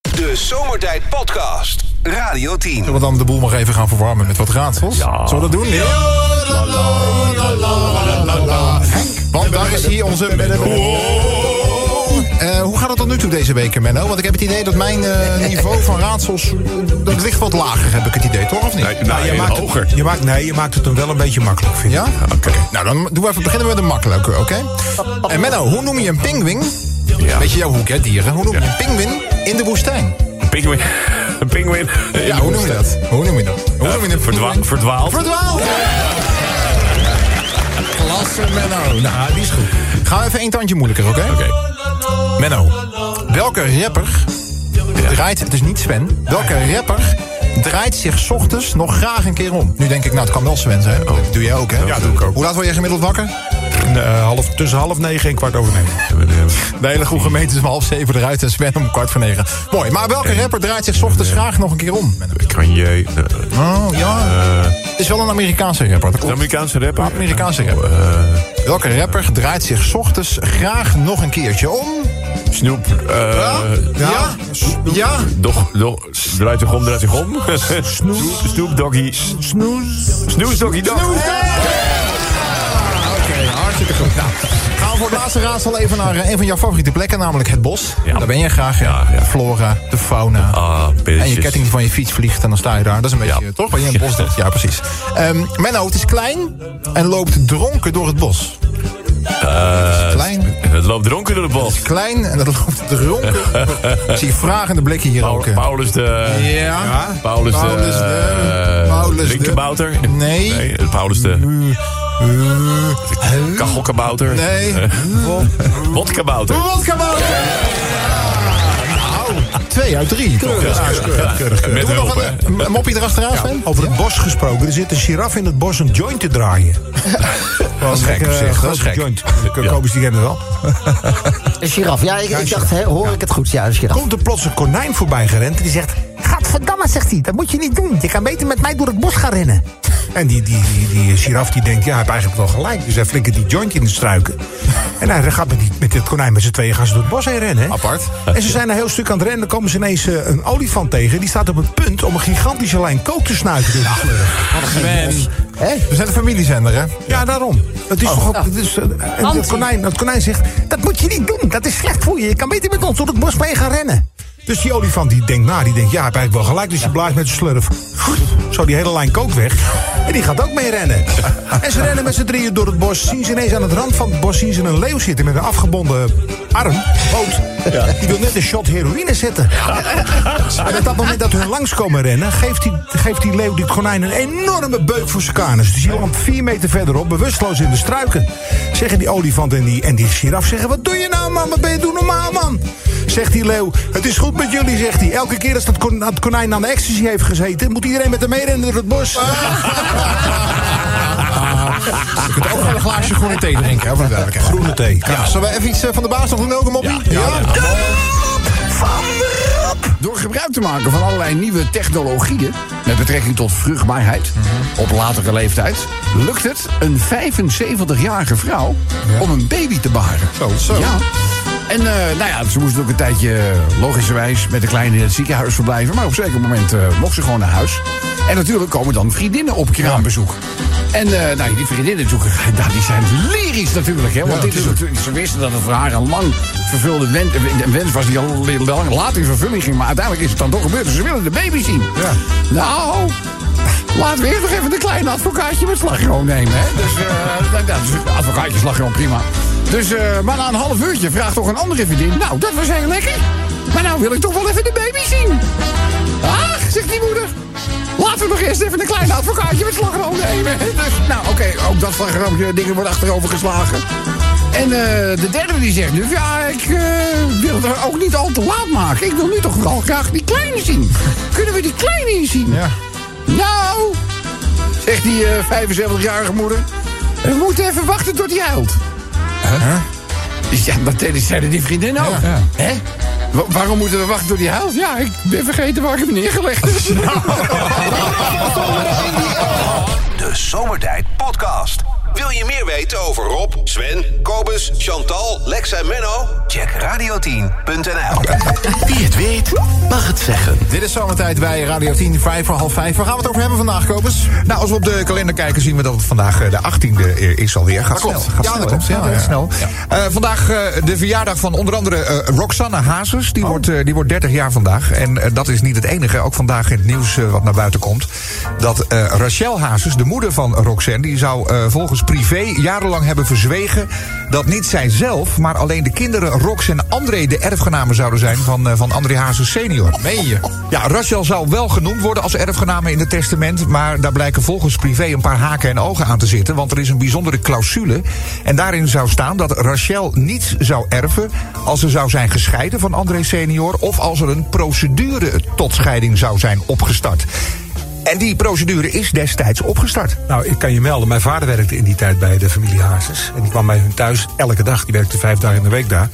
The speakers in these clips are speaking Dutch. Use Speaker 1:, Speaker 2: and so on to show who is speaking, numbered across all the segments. Speaker 1: De Zomertijd Podcast. Radio 10.
Speaker 2: Zullen we dan de boel nog even gaan verwarmen met wat raadsels? Zullen we dat doen? Nee? Henk, want daar is hier onze Menno. Eh, hoe gaat het tot nu toe deze week, Menno? Want ik heb het idee dat mijn eh, niveau van raadsels... eh, dat ligt wat lager, heb ik het idee, toch? Of niet?
Speaker 3: Nee, nou,
Speaker 4: je
Speaker 3: en
Speaker 4: maakt
Speaker 3: hoger.
Speaker 4: Het, je maakt, nee, je maakt het hem wel een beetje makkelijk, vind ik.
Speaker 2: Ja? Oké. Nou, dan doen we even, beginnen we met een makkelijke, oké? En Menno, hoe noem je een pinguïn?
Speaker 3: Ja.
Speaker 2: Weet je jouw hoek, hè, dieren? Hoe noem je een pinguïn in de woestijn?
Speaker 3: Een pinguïn. Een pinguïn.
Speaker 2: Ja, hoe noem je dat? Hoe noem je dat? Hoe noem je een
Speaker 3: verdwa-
Speaker 2: pinguïn?
Speaker 3: verdwaald.
Speaker 2: Verdwaald! Klasse, Menno. Nou, die is goed. Gaan we even een tandje moeilijker, oké?
Speaker 3: Oké.
Speaker 2: Menno, welke rapper draait... Het is niet Sven. Welke rapper draait zich 's ochtends nog graag een keer om? Nu denk ik, nou, het kan wel Sven zijn. Dat doe jij ook, hè?
Speaker 3: Ja, doe ik ook.
Speaker 2: Hoe laat word je gemiddeld wakker?
Speaker 4: Eh, half, tussen half negen en kwart over negen.
Speaker 2: De hele goede gemeente is om half zeven eruit en Sven om kwart voor negen. Mooi, maar welke rapper draait zich 's ochtends graag nog een keer om? Menno?
Speaker 3: Kan je... eh,
Speaker 2: Oh, ja. het is wel een Amerikaanse rapper, dat
Speaker 3: Een
Speaker 2: klopt.
Speaker 3: Amerikaanse rapper?
Speaker 2: Een Amerikaanse rapper.
Speaker 3: Eh,
Speaker 2: Welke rapper draait zich 's ochtends graag nog een keertje om?
Speaker 3: Snoep. eh,
Speaker 2: Ja? Ja?
Speaker 3: Doch, doch, draait zich om, draait zich om. Snoep. Snoep doggy.
Speaker 4: Snoes.
Speaker 3: Snoes doggy dog.
Speaker 2: Ah, Oké, hartstikke goed. Nou, gaan we voor het laatste raadsel even naar eh, een van jouw favoriete plekken, namelijk het bos.
Speaker 3: Ja.
Speaker 2: Daar ben je graag, hè?
Speaker 3: Ja, ja.
Speaker 2: De flora, de fauna.
Speaker 3: Ah,
Speaker 2: En je
Speaker 3: pilletjes.
Speaker 2: ketting van je fiets vliegt en dan sta je daar. Dat is een beetje,
Speaker 3: Ja.
Speaker 2: eh, toch? Wat je in het bos doet. Ja, precies. Ehm Menno, het is klein en loopt dronken door het bos. het is klein.
Speaker 3: Het loopt dronken door de bos.
Speaker 2: Klein en dat loopt dronken. Ik zie vragende blikken hier ook.
Speaker 3: Paul-
Speaker 2: eh.
Speaker 3: Paulus de...
Speaker 2: Ja.
Speaker 3: Paulus de...
Speaker 2: Paulus de-
Speaker 3: eh,
Speaker 2: Paulus de-
Speaker 3: Linkerbouter?
Speaker 2: Nee.
Speaker 3: Nee, Paulus de... Kachelkabouter? Eh,
Speaker 2: Nee.
Speaker 4: Eh.
Speaker 3: Wodkabouter?
Speaker 2: Twee uit drie. Keurig, keurig, keurig.
Speaker 3: Met
Speaker 2: Doe nog
Speaker 3: hulp,
Speaker 2: een, een moppie erachteraan, Sven?
Speaker 4: Over het bos gesproken, er zit een giraf in het bos een joint te draaien. dat is
Speaker 2: gek op zich, dat is gek.
Speaker 4: joint. Kobus, die kennen wel.
Speaker 5: Een giraf. Ja, ik, ik dacht, hè, hoor ik het goed? Ja, een giraf.
Speaker 4: Komt er plots een konijn voorbij gerend en die zegt... Gadverdamme, zegt hij, dat moet je niet doen. Je kan beter met mij door het bos gaan rennen. En die, die, die, die giraf die denkt, ja, hij heeft eigenlijk wel gelijk. Dus hij flikkert die joint in de struiken. En hij gaat met, die, met dit konijn met z'n tweeën gaan ze door het bos heen rennen. hè.
Speaker 2: Apart.
Speaker 4: En ze zijn een heel stuk aan het rennen. Dan komen ze ineens eh, een olifant tegen. Die staat op het punt om een gigantische lijn kook te snuiven. door de slurf.
Speaker 5: Hè?
Speaker 2: We zijn een familiezender, hè?
Speaker 4: Ja, daarom. Het
Speaker 6: Oh.
Speaker 4: is toch ook, het is, eh, en dat, konijn, dat konijn zegt, dat moet je niet doen. Dat is slecht voor je. Je kan beter met ons door het bos mee gaan rennen. Dus die olifant die denkt na, die denkt, ja, hij heeft eigenlijk wel gelijk. Dus die blaast met zijn slurf. Zo die hele lijn kook weg. En die gaat ook mee rennen. En ze rennen met z'n drieën door het bos. Zien ze ineens aan het rand van het bos zien ze een leeuw zitten met een afgebonden arm, poot. Die wil net een shot heroïne zetten. En op dat moment dat hun langskomen rennen, geeft die, geeft die leeuw, die konijn, een enorme beuk voor zijn kanus. Dus die lag vier meter verderop, bewusteloos in de struiken. Zeggen die olifant en die, en die giraf, zeggen, wat doe je nou man, wat ben je doen normaal man? Zegt die leeuw, het is goed met jullie, zegt hij. Elke keer als dat kon- dat konijn aan de ecstasy heeft gezeten, moet iedereen met hem meerennen door het bos.
Speaker 2: Je kunt ook wel een glaasje groene thee drinken, hè? Voor de duidelijkheid.
Speaker 4: Groene thee.
Speaker 2: Ja, zullen we even iets eh, van de baas nog doen, ook een moppie?
Speaker 3: Ja, ja, ja.
Speaker 7: Door gebruik te maken van allerlei nieuwe technologieën met betrekking tot vruchtbaarheid
Speaker 3: Mhm.
Speaker 7: op latere leeftijd, lukt het een 75-jarige vrouw om een baby te baren.
Speaker 2: Zo, zo.
Speaker 7: Ja. En eh, nou ja, ze moest ook een tijdje eh, logischerwijs met de kleine in het ziekenhuis verblijven. Maar op een zeker moment eh, mocht ze gewoon naar huis. En natuurlijk komen dan vriendinnen op kraambezoek. En eh, nou, die vriendinnen zoeken, nou, die zijn lyrisch natuurlijk. Hè, want dit is, natuurlijk- ze wisten dat het voor haar een lang vervulde wen- een wens was die al lang later in vervulling ging. Maar uiteindelijk is het dan toch gebeurd. Dus ze willen de baby zien. Nou, Laten we eerst nog even de kleine advocaatje met slagroom nemen. Hè? Dus, eh, nou, nou, dus advocaatje slagroom, prima. Dus, eh, maar na een half uurtje vraagt toch een andere vriendin... Nou, dat was heel lekker. Maar nou wil ik toch wel even de baby zien. Ach, zegt die moeder. Laten we nog eerst even een kleine advocaatje met slagroom nemen. Dus, nou, oké, ook dat slagroomje dingen wordt achterover geslagen. En eh, de derde die zegt nu, ja, ik eh, wil het er ook niet al te laat maken. Ik wil nu toch wel graag die kleine zien. Kunnen we die kleine hier zien?
Speaker 2: Ja.
Speaker 7: Nou, zegt die eh, 75-jarige moeder. We moeten even wachten tot hij huilt. Huh? Ja, dat deden- zeiden die vriendinnen ook. Hè? Wa- waarom moeten we wachten tot hij huilt? Ja, ik ben vergeten waar ik hem neergelegd heb.
Speaker 1: De Zomertijd Podcast. Wil je meer weten over Rob, Sven, Kobus, Chantal, Lex en Menno? Check radio10.nl.
Speaker 8: Wie het weet, mag het zeggen.
Speaker 2: Dit is zomertijd bij Radio 10, 5 voor half 5. Waar gaan we het over hebben vandaag, Kopers?
Speaker 6: Nou, als we op de kalender kijken, zien we dat het vandaag eh, de 18e is alweer. Gaat
Speaker 2: klopt.
Speaker 6: snel. Gaat
Speaker 2: Ja,
Speaker 6: snel,
Speaker 2: dat
Speaker 6: hè?
Speaker 2: klopt. Ja,
Speaker 6: gaat
Speaker 2: ja.
Speaker 6: snel. Eh, vandaag eh, de verjaardag van onder andere eh, Roxanne Hazes.
Speaker 2: Oh.
Speaker 6: Die, wordt, eh, die wordt 30 jaar vandaag. En eh, dat is niet het enige. Ook vandaag in het nieuws eh, wat naar buiten komt. Dat eh, Rachel Hazes, de moeder van Roxanne... die zou eh, volgens privé jarenlang hebben verzwegen... dat niet zijzelf, maar alleen de kinderen Rox en André... de erfgenamen zouden zijn van, eh, van André Hazes senior.
Speaker 2: Meen je?
Speaker 6: Ja, Rachel zou wel genoemd worden als erfgename in het testament. Maar daar blijken volgens privé een paar haken en ogen aan te zitten. Want er is een bijzondere clausule. En daarin zou staan dat Rachel niets zou erven. als ze zou zijn gescheiden van André senior. of als er een procedure tot scheiding zou zijn opgestart. En die procedure is destijds opgestart.
Speaker 4: Nou, ik kan je melden, mijn vader werkte in die tijd bij de familie Hazes. En die kwam bij hun thuis elke dag. Die werkte vijf dagen in de week daar.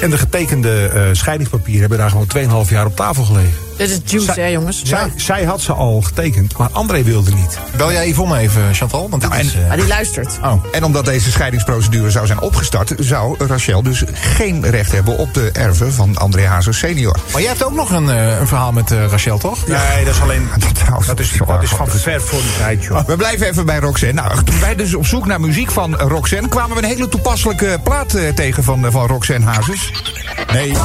Speaker 4: En de getekende eh, scheidingspapieren hebben daar gewoon 2,5 jaar op tafel gelegen.
Speaker 9: Dit is juice,
Speaker 4: Zij-
Speaker 9: hè, jongens?
Speaker 4: Zij, zij had ze al getekend, maar André wilde niet.
Speaker 2: Bel jij Yvonne even, Chantal? Want dit is, eh,
Speaker 9: Maar Ah, die luistert.
Speaker 6: Oh. En omdat deze scheidingsprocedure zou zijn opgestart, zou Rachel dus geen recht hebben op de erven van André Hazes senior.
Speaker 2: Maar jij hebt ook nog een, eh, een verhaal met eh, Rachel, toch?
Speaker 4: Nee, dat is alleen.
Speaker 6: trouwens,
Speaker 4: Dat is,
Speaker 6: ja,
Speaker 4: dat is
Speaker 6: God,
Speaker 4: van ver voor die tijd, joh.
Speaker 6: Oh, We blijven even bij Roxanne. Nou, toen wij dus op zoek naar muziek van eh, Roxanne... kwamen we een hele toepasselijke plaat eh, tegen van, eh, van Roxanne Hazes.
Speaker 2: Nee. Nee.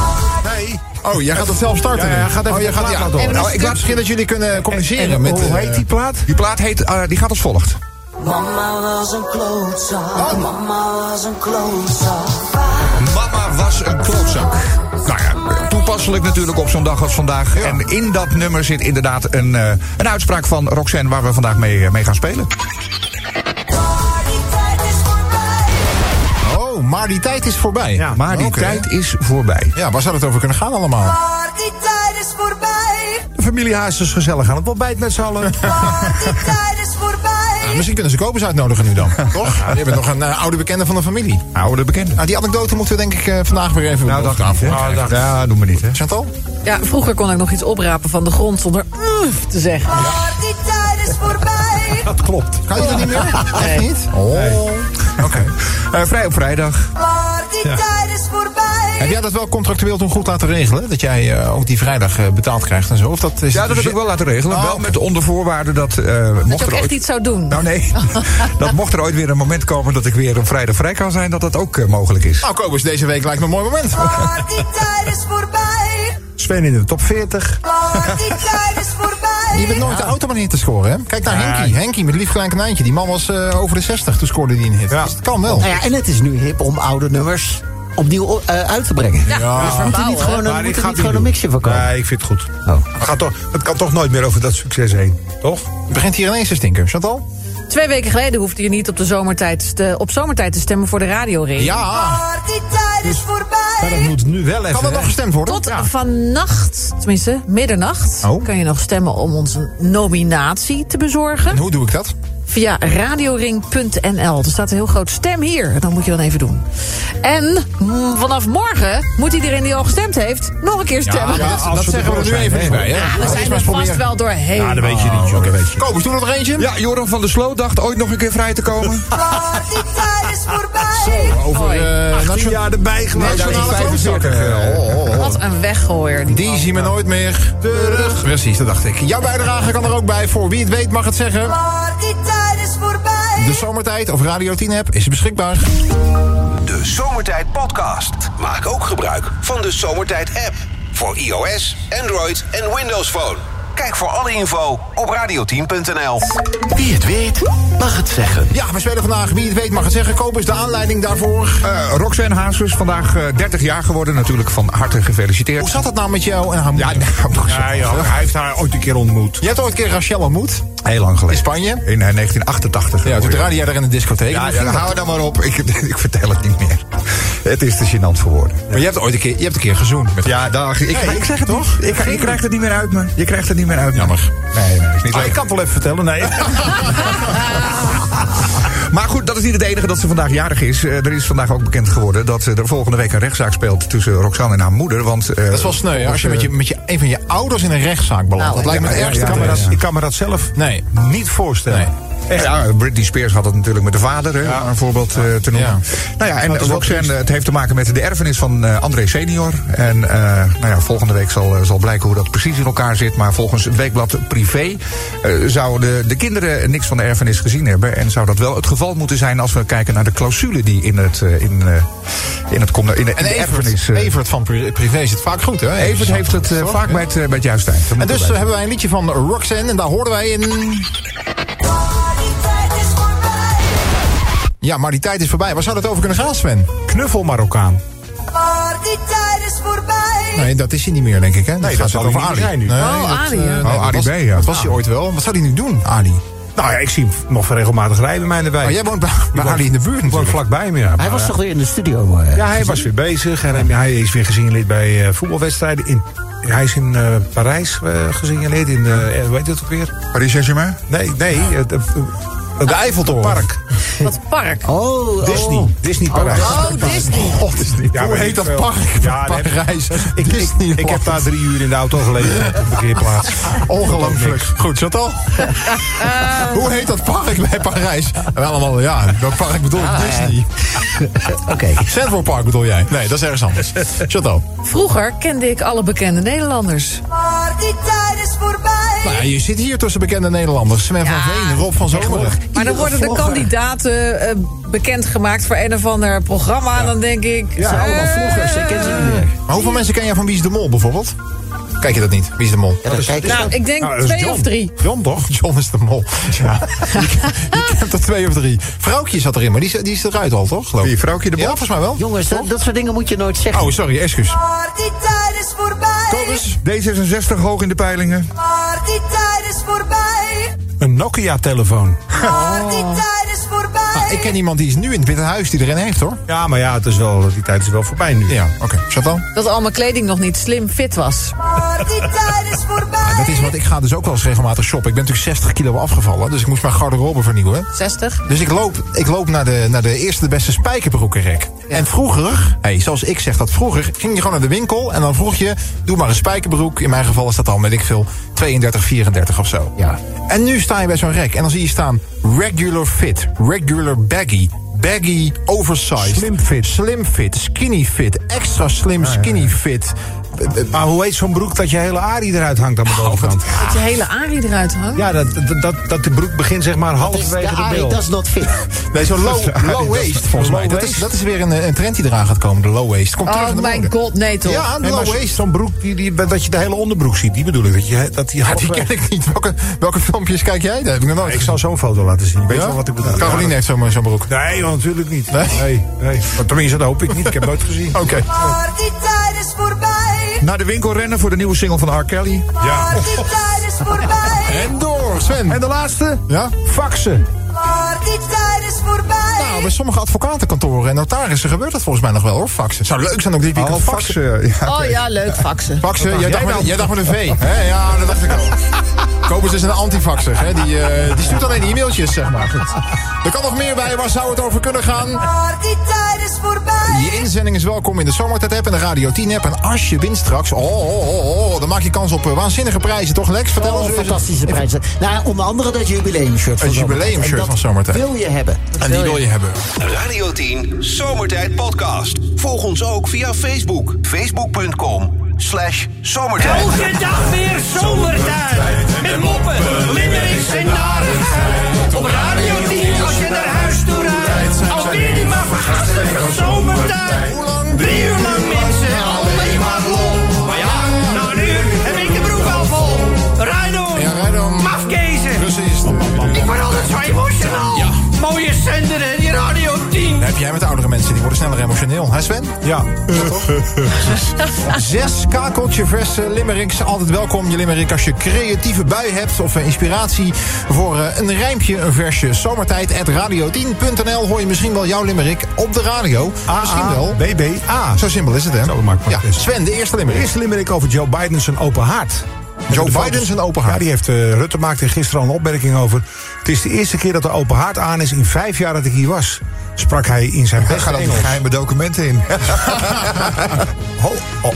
Speaker 2: Oh, jij gaat het zelf starten.
Speaker 4: Ja, ja,
Speaker 2: nu.
Speaker 4: gaat even
Speaker 2: oh, jij
Speaker 4: de
Speaker 2: gaat
Speaker 4: plaat
Speaker 2: ja.
Speaker 4: laten horen.
Speaker 2: Nou, ik laat misschien dat jullie kunnen communiceren met.
Speaker 4: hoe
Speaker 2: eh,
Speaker 4: heet die plaat?
Speaker 6: Die plaat heet, eh, die gaat als volgt.
Speaker 10: Mama was een klootzak. Mama was een klootzak.
Speaker 5: Ah
Speaker 6: Mama was een klootzak. Nou ja, toepasselijk natuurlijk op zo'n dag als vandaag. En in dat nummer zit inderdaad een, eh, een uitspraak van Roxanne... waar we vandaag mee, eh, mee gaan spelen.
Speaker 10: Die tijd is voorbij.
Speaker 2: Oh, maar die tijd is voorbij.
Speaker 4: Ja.
Speaker 6: Maar die
Speaker 2: Oké.
Speaker 6: tijd is voorbij.
Speaker 2: Ja, waar zou het over kunnen gaan allemaal?
Speaker 10: Maar die tijd is voorbij.
Speaker 4: De familie Hazes is gezellig aan het ontbijt met z'n allen.
Speaker 10: Maar die tijd is voorbij.
Speaker 2: Ah, Misschien kunnen ze Kobus uitnodigen nu dan, toch? Ja, je bent nog een eh, oude bekende van de familie.
Speaker 6: Oude bekende.
Speaker 2: Nou, die anekdote moeten we denk ik eh, vandaag weer even
Speaker 6: Nou,
Speaker 2: nog
Speaker 6: dat niet, hè?
Speaker 2: aanvoeren.
Speaker 6: Ja, doe maar niet, hè.
Speaker 2: Chantal?
Speaker 9: Ja, vroeger kon ik nog iets oprapen van de grond zonder "Mm" te
Speaker 2: Oh,
Speaker 9: zeggen.
Speaker 10: Maar die tijd is voorbij.
Speaker 4: Dat klopt.
Speaker 2: Kan je dat niet meer? Echt niet? Oh. Oké.
Speaker 6: Eh, vrij op vrijdag.
Speaker 10: Maar die tijd is
Speaker 2: Heb
Speaker 10: voorbij.
Speaker 2: jij dat wel contractueel toen goed laten regelen? Dat jij eh, ook die vrijdag eh, betaald krijgt en zo? Of dat is
Speaker 6: Ja, dat heb ik wel laten regelen.
Speaker 2: Oh,
Speaker 6: Wel
Speaker 2: oké.
Speaker 6: met onder voorwaarde dat... eh mocht
Speaker 9: Dat je
Speaker 6: er
Speaker 9: ook echt
Speaker 6: ooit-
Speaker 9: iets zou doen.
Speaker 6: Nou nee, dat mocht er ooit weer een moment komen dat ik weer een vrijdag vrij kan zijn, dat dat ook eh, mogelijk is.
Speaker 2: Nou, Kobus, deze week lijkt me een mooi moment.
Speaker 10: Maar die tijd is voorbij.
Speaker 4: Sven in de top 40.
Speaker 10: Maar die tijd is
Speaker 2: Je
Speaker 10: voorbij.
Speaker 2: bent nooit de automanier te scoren, hè? Kijk naar Henkie. Henkie met lief klein konijntje. Die man was eh, over de 60, toen scoorde hij een hit.
Speaker 4: Ja.
Speaker 2: Dus het kan wel.
Speaker 5: Nou ja, en het is nu hip om oude nummers opnieuw eh, uit te brengen.
Speaker 9: Ja, dus
Speaker 5: Moet er
Speaker 9: verbouwen,
Speaker 5: niet
Speaker 9: hè.
Speaker 5: gewoon een,
Speaker 4: Nou, Maar
Speaker 5: moet
Speaker 4: ik
Speaker 5: er
Speaker 4: ga
Speaker 5: niet gewoon een mixje van komen?
Speaker 4: Nee, ik vind het goed.
Speaker 5: Oh.
Speaker 4: Het, gaat toch, het kan toch nooit meer over dat succes heen, toch?
Speaker 2: Het begint hier ineens te stinken. Chantal?
Speaker 9: Twee weken geleden hoefde je niet op, de zomertijd te, op zomertijd te stemmen voor de radioring.
Speaker 2: Ja.
Speaker 10: Maar die tijd is
Speaker 4: Maar dat
Speaker 10: voorbij.
Speaker 4: moet nu wel even.
Speaker 2: Kan dat nog gestemd worden?
Speaker 9: Tot vannacht, tenminste middernacht,
Speaker 2: Oh.
Speaker 9: kan je nog stemmen om ons een nominatie te bezorgen.
Speaker 2: En hoe doe ik dat?
Speaker 9: Via radioring.nl. Er staat een heel groot stem hier. Dat moet je dan even doen. En mm, vanaf morgen moet iedereen die al gestemd heeft nog een keer stemmen.
Speaker 2: maar
Speaker 4: als
Speaker 2: dat
Speaker 4: we
Speaker 2: zeggen we
Speaker 4: ervoor
Speaker 2: er nu
Speaker 4: zijn,
Speaker 2: even
Speaker 4: hè?
Speaker 2: niet bij, hè?
Speaker 9: Ja, we
Speaker 2: Nou, Eerst
Speaker 9: zijn
Speaker 2: maar
Speaker 9: er
Speaker 2: eens
Speaker 9: vast
Speaker 2: proberen.
Speaker 9: wel doorheen.
Speaker 4: Ja, dat weet je niet, joh. Dat weet je niet.
Speaker 2: Kobus, doe er nog eentje.
Speaker 6: Ja, Joram van der Slo dacht ooit nog een keer vrij te komen.
Speaker 10: Maar die tijd is voorbij.
Speaker 2: Over
Speaker 9: Hoi.
Speaker 2: eh,
Speaker 4: Tien
Speaker 2: nationa-
Speaker 4: jaar erbij
Speaker 2: nationale
Speaker 4: gemaakt.
Speaker 2: klootzakken. Eh, oh, oh, oh.
Speaker 9: Wat een weggooier. die
Speaker 2: Die
Speaker 6: Oh,
Speaker 2: zien we nooit meer terug. Precies, dat dacht ik. Jouw bijdrage kan er ook bij. Voor wie het weet mag het zeggen.
Speaker 10: Maar die tijd is voorbij.
Speaker 2: De Zomertijd of Radio 10 app is beschikbaar.
Speaker 1: De Zomertijd Podcast. Maak ook gebruik van de Zomertijd app. Voor iOS, Android en Windows Phone. Kijk voor alle info op radio10.nl.
Speaker 8: Wie het weet, mag het zeggen.
Speaker 2: Ja, we spelen vandaag. Wie het weet mag het zeggen. Kobus, de aanleiding daarvoor.
Speaker 6: Eh Roxanne Hazes, vandaag eh, 30 jaar geworden. Natuurlijk van harte
Speaker 2: Hoe
Speaker 6: gefeliciteerd.
Speaker 2: zat dat nou met jou en haar moeder?
Speaker 6: Ja, nou,
Speaker 4: Ja, joh, hij heeft haar ooit een keer ontmoet.
Speaker 2: Je hebt ooit een keer Rachel ontmoet.
Speaker 6: heel lang
Speaker 2: In
Speaker 6: geleden.
Speaker 2: Spanje.
Speaker 6: In eh, 1988.
Speaker 2: Ja, toen
Speaker 6: hoor je.
Speaker 2: draaide jij daar in de discotheek.
Speaker 6: Ja,
Speaker 2: Hoe
Speaker 6: ja,
Speaker 2: ging dat?
Speaker 6: hou er dan maar op. Ik, ik vertel het niet meer. Het is te gênant voor woorden.
Speaker 2: Maar je hebt ooit een keer, je hebt een keer gezoend. Met
Speaker 6: Ja, dag. Ik,
Speaker 2: Nee,
Speaker 6: ik zeg het toch? Ik, je krijgt het niet meer uit me. Je krijgt het niet meer uit Oh, me.
Speaker 2: Jammer.
Speaker 6: Nee, nee, is niet
Speaker 4: Ah,
Speaker 6: leuk.
Speaker 4: ik kan het wel even vertellen. Nee.
Speaker 6: Maar goed, dat is niet het enige dat ze vandaag jarig is. Eh, er is vandaag ook bekend geworden dat eh, er volgende week een rechtszaak speelt tussen Roxanne en haar moeder. Want, eh,
Speaker 2: Dat is wel sneu, hè? Als je met, je, met je, een van je ouders in een rechtszaak belandt.
Speaker 9: Nou,
Speaker 2: dat lijkt me
Speaker 6: ja,
Speaker 2: het
Speaker 6: ja,
Speaker 2: ergste.
Speaker 6: ja,
Speaker 4: ik, kan me dat, ik kan me dat zelf
Speaker 2: Nee.
Speaker 4: niet voorstellen.
Speaker 6: Echt? Ja, Britney Spears had het natuurlijk met de vader, hè, om een voorbeeld eh, te noemen. Nou ja, en
Speaker 2: Dat is wel
Speaker 6: Roxanne, het heeft te maken met de erfenis van eh, André senior. En eh, nou ja, volgende week zal, eh, zal blijken hoe dat precies in elkaar zit. Maar volgens het weekblad Privé eh, zouden de kinderen niks van de erfenis gezien hebben. En zou dat wel het geval moeten zijn als we kijken naar de clausule die in het, eh, in, eh, in het, con- in de, in de
Speaker 2: En
Speaker 6: erfenis...
Speaker 2: Evert,
Speaker 6: eh,
Speaker 2: Evert van pri- Privé zit vaak goed, hè?
Speaker 6: Evert heeft het eh,
Speaker 2: Toch?
Speaker 6: vaak
Speaker 2: Ja.
Speaker 6: bij het, eh, bij het juiste eind. Dat
Speaker 2: En
Speaker 6: moet
Speaker 2: dus
Speaker 6: erbij.
Speaker 2: hebben wij een liedje van Roxanne. En daar hoorden wij in... Ja, maar die tijd is voorbij. Waar zou dat over kunnen gaan, Sven?
Speaker 4: Knuffel Marokkaan.
Speaker 10: Maar die tijd is voorbij.
Speaker 2: Nee, dat is hij niet meer, denk ik. Hè?
Speaker 4: dat
Speaker 2: gaat
Speaker 4: zal
Speaker 2: over
Speaker 4: hij niet
Speaker 2: Ali.
Speaker 4: zijn nu.
Speaker 2: Nee,
Speaker 4: Oh,
Speaker 2: dat,
Speaker 9: Ali,
Speaker 2: eh,
Speaker 9: ja.
Speaker 2: nee,
Speaker 4: Oh,
Speaker 2: dat
Speaker 4: Ali
Speaker 2: was-
Speaker 4: B, ja.
Speaker 2: Dat was hij ooit wel. Wat zou hij nu doen, Ali?
Speaker 4: Nou ja, ik zie hem nog regelmatig rijden bij mij erbij.
Speaker 2: Oh, jij woont bij, bij Ali in de buurt
Speaker 4: Gewoon
Speaker 2: natuurlijk.
Speaker 4: vlakbij me, ja.
Speaker 5: Hij
Speaker 4: Maar,
Speaker 5: was
Speaker 4: eh,
Speaker 5: toch weer in de studio? eh,
Speaker 4: Ja, hij was weer bezig en eh, hij- hij is weer gesignaleerd bij eh, voetbalwedstrijden. In, hij is in eh, Parijs eh, gesignaleerd, in de, eh, hoe heet dat ook weer?
Speaker 6: Paris Saint-Germain?
Speaker 4: Nee, nee, het, het, het Eiffeltoren. Park.
Speaker 9: Dat park.
Speaker 5: Oh, oh.
Speaker 4: Disney. Disney Parijs.
Speaker 9: Oh, Disney.
Speaker 2: God, is dit-
Speaker 4: Ja,
Speaker 2: Hoe
Speaker 4: weet
Speaker 2: heet
Speaker 4: ik
Speaker 2: dat
Speaker 4: veel.
Speaker 2: park?
Speaker 4: Ja,
Speaker 2: Ja,
Speaker 4: nee.
Speaker 2: Parijs.
Speaker 4: Ik, ik, ik heb daar drie uur in de auto gelegen op de parkeerplaats.
Speaker 2: Ongelooflijk. Goed, Chantal. Hoe heet dat park bij Parijs? Wel allemaal, ja. Welk park bedoel ik? Disney.
Speaker 5: Ah, Oké.
Speaker 2: Central Park bedoel jij? Nee, dat is ergens anders. Chantal.
Speaker 9: Vroeger kende ik alle bekende Nederlanders.
Speaker 10: Maar die tijd is voorbij.
Speaker 2: Nou, ja, je zit hier tussen bekende Nederlanders. Sven
Speaker 9: Ja.
Speaker 2: van Veen, Rob van Zomeren.
Speaker 9: Maar dan worden de kandidaten eh, bekendgemaakt voor een of ander programma. En dan denk ik...
Speaker 5: Ze zijn allemaal
Speaker 9: eh,
Speaker 5: vloggers, ik ken ze niet meer.
Speaker 2: Maar hoeveel mensen ken jij van Wie is de Mol bijvoorbeeld? Kijk je dat niet? Wie is de Mol? Ah,
Speaker 5: Ja, dan kijk eens
Speaker 9: Nou,
Speaker 5: op.
Speaker 9: ik denk
Speaker 4: Nou, dat is
Speaker 9: twee
Speaker 4: John.
Speaker 9: of drie.
Speaker 2: John toch? John is de Mol. Ja. je, je kent er twee of drie. Vrouwtje zat erin, maar die, is- die is eruit al, toch? Geloof ik.
Speaker 6: Wie, Vrouwtje de Mol?
Speaker 2: Ja, volgens mij wel.
Speaker 5: Jongens, dat, dat soort dingen moet je nooit zeggen.
Speaker 2: Oh, sorry, excuus.
Speaker 10: Maar die tijd is voorbij.
Speaker 6: D66 hoog in de peilingen.
Speaker 10: Maar die tijd is voorbij.
Speaker 4: Een Nokia-telefoon.
Speaker 10: Maar die tijd is voorbij.
Speaker 2: Nou, Ah, ik ken iemand die is nu in het Witte Huis die erin heeft, hoor.
Speaker 4: Ja, maar ja, het is wel, die tijd is wel voorbij nu.
Speaker 2: Ja, oké. Chantal?
Speaker 9: Dat al mijn kleding nog niet slim fit was.
Speaker 10: Maar die tijd is voorbij.
Speaker 2: Ja, Ah, dat is wat ik ga dus ook wel eens regelmatig shoppen. Ik ben natuurlijk 60 kilo afgevallen, dus ik moest mijn garderobe vernieuwen.
Speaker 9: 60.
Speaker 2: Dus ik loop, ik loop naar, de, naar de eerste de beste spijkerbroekenrek. En vroeger, hey, zoals ik zeg dat vroeger, ging je gewoon naar de winkel en dan vroeg je, doe maar een spijkerbroek. In mijn geval is dat dan, weet ik veel, 32, 34 of zo.
Speaker 5: Ja.
Speaker 2: En nu sta je bij zo'n rek en dan zie je staan regular fit, regular baggy. Baggy, oversized.
Speaker 4: Slim fit. Ah,
Speaker 2: Slim fit, skinny fit, extra slim, skinny fit.
Speaker 4: Maar hoe heet zo'n broek dat je hele arie eruit hangt aan de bovenkant?
Speaker 9: Dat je hele Arie eruit hangt.
Speaker 4: Ja, dat, dat, dat de broek begint zeg maar
Speaker 5: Dat is Dus de
Speaker 4: halverwege de
Speaker 5: Ari,
Speaker 4: bil.
Speaker 5: dat is not fit.
Speaker 2: Nee, zo'n low, low waist volgens mij.
Speaker 4: Low
Speaker 2: Dat is,
Speaker 4: waist.
Speaker 2: dat is weer een, een trend die eraan gaat komen, de low waist. Komt terug
Speaker 9: Oh
Speaker 2: in de
Speaker 9: mijn
Speaker 2: mode.
Speaker 9: god, nee toch.
Speaker 2: Ja, de
Speaker 4: Nee, maar
Speaker 2: low
Speaker 4: zo-
Speaker 2: waist.
Speaker 4: Zo'n broek die, die, dat je de hele onderbroek ziet, die bedoel ik. Dat, je, dat die
Speaker 2: Ja, die
Speaker 4: halverwege-
Speaker 2: ken ik niet. Welke, welke filmpjes kijk jij? Dat heb ik nog nooit
Speaker 4: Ik
Speaker 2: gezien.
Speaker 4: zal zo'n foto laten zien. Weet je
Speaker 2: Ja?
Speaker 4: wel wat ik bedoel?
Speaker 2: Caroline heeft zo'n zo'n broek.
Speaker 4: Ja. Nee, want natuurlijk niet.
Speaker 2: Nee?
Speaker 4: Nee? Nee, Maar Tenminste, dat hoop ik niet. Ik heb nooit gezien.
Speaker 2: Oké.
Speaker 10: Maar die tijd is voorbij.
Speaker 6: Naar de winkel rennen voor de nieuwe single van R. Kelly.
Speaker 10: Maar die tijd is voorbij.
Speaker 2: En door, Sven.
Speaker 4: En de laatste?
Speaker 2: Ja?
Speaker 4: Faxen.
Speaker 10: Maar die tijd is
Speaker 2: Nou, bij
Speaker 10: voorbij.
Speaker 2: sommige advocatenkantoren en notarissen gebeurt dat volgens mij nog wel, hoor. Faxen. Zou leuk zijn ook dit weekend.
Speaker 6: Oh,
Speaker 2: faxen.
Speaker 6: faxen. Ja.
Speaker 9: Oh ja, leuk faxen.
Speaker 2: Faxen, jij
Speaker 4: jij
Speaker 2: dacht, met,
Speaker 4: dan?
Speaker 2: jij dacht met een V. hè? ja, dat dacht ik al. Kobus is een antifaxer. Hè? Die, eh, die stuurt alleen e-mailtjes, zeg maar. Goed. Er kan nog meer bij. Waar zou het over kunnen gaan?
Speaker 10: Maar die tijd is voorbij.
Speaker 2: Je inzending is welkom in de Zomertijd-app en de Radio 10-app. En als je wint straks, oh, oh, oh, oh, dan maak je kans op eh, waanzinnige prijzen, toch Lex? Vertel
Speaker 5: Oh,
Speaker 2: ons eens.
Speaker 5: fantastische prijzen. Nou, onder andere dat jubileumshirt van
Speaker 2: Het
Speaker 5: Zomertijd.
Speaker 2: jubileumshirt
Speaker 5: En dat
Speaker 2: van Zomertijd.
Speaker 5: wil je hebben.
Speaker 2: En die wil je hebben.
Speaker 1: Radio 10 Zomertijd Podcast. Volg ons ook via Facebook. Facebook.com slash zomertijd.
Speaker 11: Elke dag weer zomertijd. Met moppen, limmerings en narigheid. Op Radio 10 als je naar huis toe rijdt. Alweer die maar vergasten van zomertijd. Drie uur lang mensen, alleen maar lol. Maar ja, na een uur heb ik de broek al vol. Rijd om.
Speaker 2: Ja, rijd om.
Speaker 11: Mafkezen.
Speaker 2: Precies.
Speaker 11: Ik word altijd zo emotional. Mooie zender en die Radio 10.
Speaker 2: Dan heb jij met oudere mensen, die worden sneller emotioneel. Hè Sven?
Speaker 4: Ja.
Speaker 2: Zes kakeltje verse limericks. Altijd welkom, je limerick, als je creatieve bui hebt... of eh, inspiratie voor eh, een rijmpje, een versje. Zomertijd.radio10.nl hoor je misschien wel jouw limerick op de radio. misschien wel.
Speaker 4: BBA.
Speaker 2: Zo simpel is het, hè?
Speaker 4: Zo makkelijk
Speaker 2: ja.
Speaker 4: het is.
Speaker 2: Sven, de eerste
Speaker 4: Er
Speaker 2: limerick.
Speaker 4: is limmerik over Joe Biden zijn open haard.
Speaker 2: Joe
Speaker 4: De
Speaker 2: Biden
Speaker 4: foto's-
Speaker 2: zijn open haard.
Speaker 4: Ja, die heeft, eh, Rutte maakte gisteren al een opmerking over. Het is de eerste keer dat de open haard aan is in vijf jaar dat ik hier was. Sprak hij in zijn beste
Speaker 6: Gaan dat
Speaker 4: Engels.
Speaker 6: geheime documenten in?
Speaker 4: Ho, oh.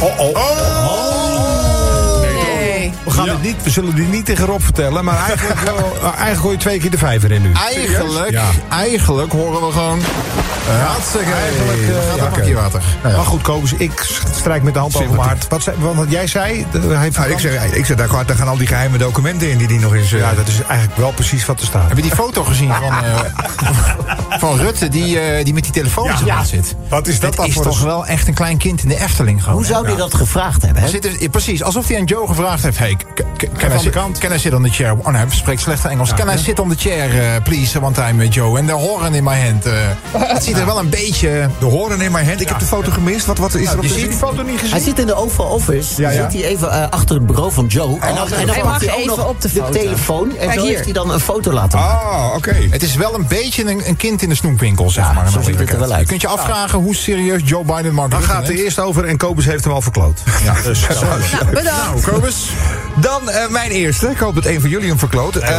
Speaker 4: Oh, oh.
Speaker 9: Nee.
Speaker 4: We gaan gaan het niet, we zullen die niet tegen Rob vertellen. Maar eigenlijk, wel- eh, eigenlijk gooi je twee keer de vijver in nu.
Speaker 2: Eigenlijk,
Speaker 4: Ja.
Speaker 2: eigenlijk horen we gewoon... Hartstikke. Eigenlijk
Speaker 4: eh,
Speaker 2: gaat
Speaker 4: ja,
Speaker 2: een
Speaker 4: oké.
Speaker 2: bakje water.
Speaker 6: Nou
Speaker 4: Maar goed, Kobus, ik strijk met de hand over mijn hart. Wat, zei- wat, wat jij zei, de- hij heeft
Speaker 6: Nou, ik zeg, ik zeg daar, gaan- daar gaan al die geheime documenten in die die nog eens... eh,
Speaker 4: Ja, dat is eigenlijk wel precies wat er staat.
Speaker 2: Heb je die foto gezien van, eh, van Rutte die, eh, die met die telefoon in zijn hand zit?
Speaker 4: Wat is dat
Speaker 2: Het
Speaker 4: dan
Speaker 2: is
Speaker 4: voor
Speaker 2: toch
Speaker 4: een-
Speaker 2: wel echt een klein kind in de Efteling gewoon.
Speaker 5: Hoe
Speaker 2: hè?
Speaker 5: zou die dat gevraagd hebben?
Speaker 2: Hij
Speaker 5: Hè?
Speaker 2: Zit er, eh, precies, alsof hij aan Joe gevraagd heeft... Hey, k- k- can, I
Speaker 4: de
Speaker 2: sit, can I sit on the chair? Oh, nee, hij spreekt slecht Engels. can I sit on the chair, eh, please, one time, eh, Joe? And the horn in my hand. eh. het ziet er wel een beetje... Nou,
Speaker 6: De horen in mijn hand. Ik heb de foto gemist. Wat, wat is er op
Speaker 2: je
Speaker 6: de
Speaker 2: ziet-
Speaker 6: die
Speaker 4: foto niet
Speaker 5: Hij
Speaker 4: gezien.
Speaker 5: zit in de Oval Office.
Speaker 6: Ja,
Speaker 5: Ja,
Speaker 6: ja.
Speaker 5: Zit hij even eh, achter het bureau van Joe. en dan, en dan
Speaker 9: Hij
Speaker 5: pakt
Speaker 9: mag
Speaker 5: hij ook
Speaker 9: even
Speaker 5: nog
Speaker 9: op de foto.
Speaker 5: telefoon. En
Speaker 9: Kijk
Speaker 5: zo
Speaker 9: hier.
Speaker 5: heeft hij dan een foto laten
Speaker 4: Ah.
Speaker 5: maken.
Speaker 6: Oh, oké.
Speaker 2: Het is wel een beetje een, een kind in de snoepwinkel, zeg
Speaker 5: Ja,
Speaker 2: maar. in
Speaker 5: zo
Speaker 2: alle
Speaker 5: ziet het er wel
Speaker 2: eerlijkheid.
Speaker 5: uit.
Speaker 2: Je kunt je afvragen hoe serieus Joe Biden Mark
Speaker 4: Dan
Speaker 2: Rutte
Speaker 4: gaat
Speaker 2: neemt.
Speaker 4: de eerste over en Kobus heeft hem al verkloot. Ja. Dus, zo.
Speaker 9: Nou, bedankt.
Speaker 2: Kobus.
Speaker 6: Dan eh, mijn eerste. Ik hoop dat een van jullie hem verkloot. Eh,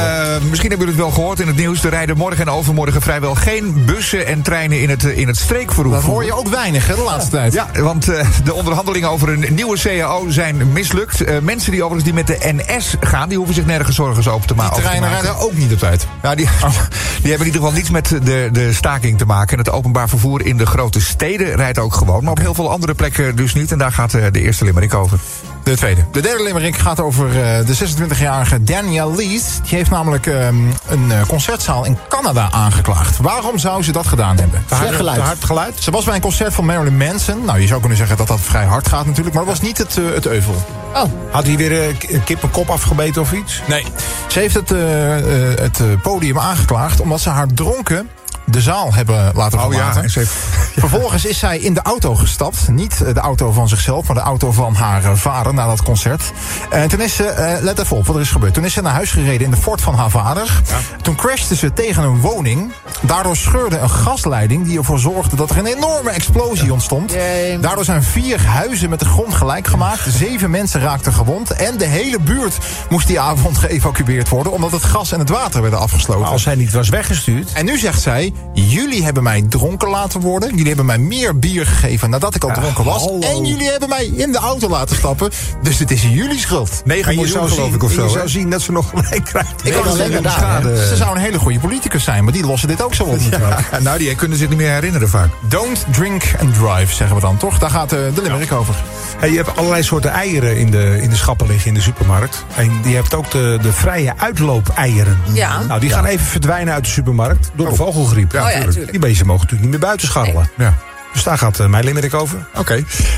Speaker 6: misschien hebben jullie het wel gehoord in het nieuws. Er rijden morgen en overmorgen vrijwel geen bussen en treinen in het, eh, in het streekvervoer.
Speaker 2: Dat hoor je ook weinig, hè, de laatste tijd.
Speaker 6: Ja, want eh, de onderhandelingen over een nieuwe CAO zijn mislukt. Eh, mensen die overigens die met de NS gaan, die hoeven zich nergens zorgen over te ma-
Speaker 2: Die
Speaker 6: over te maken.
Speaker 2: treinen rijden ook niet op tijd.
Speaker 6: Ja, die, die hebben in ieder geval niets met de, de staking te maken. En het openbaar vervoer in de grote steden rijdt ook gewoon. Maar op heel veel andere plekken dus niet. En daar gaat eh, de eerste limmerik over.
Speaker 2: De tweede. De derde limerick gaat over eh, de 26-jarige Danielle Lees. Die heeft namelijk ehm, een eh, concertzaal in Canada aangeklaagd. Waarom zou ze dat gedaan hebben?
Speaker 5: Slecht geluid.
Speaker 2: Hard geluid. Ze was bij een concert van Marilyn Manson. Nou, je zou kunnen zeggen dat dat vrij hard gaat natuurlijk. Maar dat was niet het, eh, het euvel.
Speaker 5: Oh.
Speaker 4: Had hij weer eh, k- een kip een kop afgebeten of iets?
Speaker 2: Nee. Ze heeft het, eh, eh, het eh, podium aangeklaagd omdat ze haar dronken de zaal hebben laten
Speaker 6: Oh ja,
Speaker 2: verlaten.
Speaker 6: en ze heeft-
Speaker 2: Vervolgens is zij in de auto gestapt. Niet eh, de auto van zichzelf, maar de auto van haar eh, vader na dat concert. En toen is ze, eh, let even op wat er is gebeurd. Toen is ze naar huis gereden in de Ford van haar vader. Toen crashte ze tegen een woning. Daardoor scheurde een gasleiding die ervoor zorgde dat er een enorme explosie ontstond.
Speaker 9: Jee.
Speaker 2: Daardoor zijn vier huizen met de grond gelijk gemaakt. Zeven mensen raakten gewond. En de hele buurt moest die avond geëvacueerd worden. Omdat het gas en het water werden afgesloten.
Speaker 4: Maar als hij niet was weggestuurd...
Speaker 2: En nu zegt zij, jullie hebben mij dronken laten worden. Jullie hebben mij meer bier gegeven nadat ik al dronken was.
Speaker 4: hallo.
Speaker 2: En jullie hebben mij in de auto laten stappen. Dus het is jullie schuld.
Speaker 6: 9
Speaker 4: En je
Speaker 6: miljoen
Speaker 4: zou,
Speaker 6: geloof
Speaker 4: zien,
Speaker 6: ik of
Speaker 4: en
Speaker 6: zo.
Speaker 4: je
Speaker 6: hè?
Speaker 4: zou zien dat ze nog gelijk krijgt.
Speaker 2: Ik
Speaker 5: Nee,
Speaker 2: kan
Speaker 5: dat
Speaker 2: zeggen,
Speaker 5: is inderdaad,
Speaker 2: schade.
Speaker 6: hè.
Speaker 2: ze zou een hele goede politicus zijn. Maar die lossen dit ook zo op natuurlijk.
Speaker 6: eh. Ja, nou, die kunnen zich niet meer herinneren vaak.
Speaker 2: Don't drink and drive, zeggen we dan, toch? Daar gaat eh, de limerick over.
Speaker 4: Hey, je hebt allerlei soorten eieren in de, in de schappen liggen in de supermarkt. En je hebt ook de, de vrije uitloop-eieren.
Speaker 9: Ja.
Speaker 4: Nou, die gaan even verdwijnen uit de supermarkt door de
Speaker 6: Oh.
Speaker 4: vogelgriep.
Speaker 9: ja, tuurlijk. tuurlijk.
Speaker 4: Die beesten mogen natuurlijk niet meer buiten scharrelen.
Speaker 6: Ja.
Speaker 4: Dus daar gaat eh, mijn limerick over.
Speaker 6: Oké.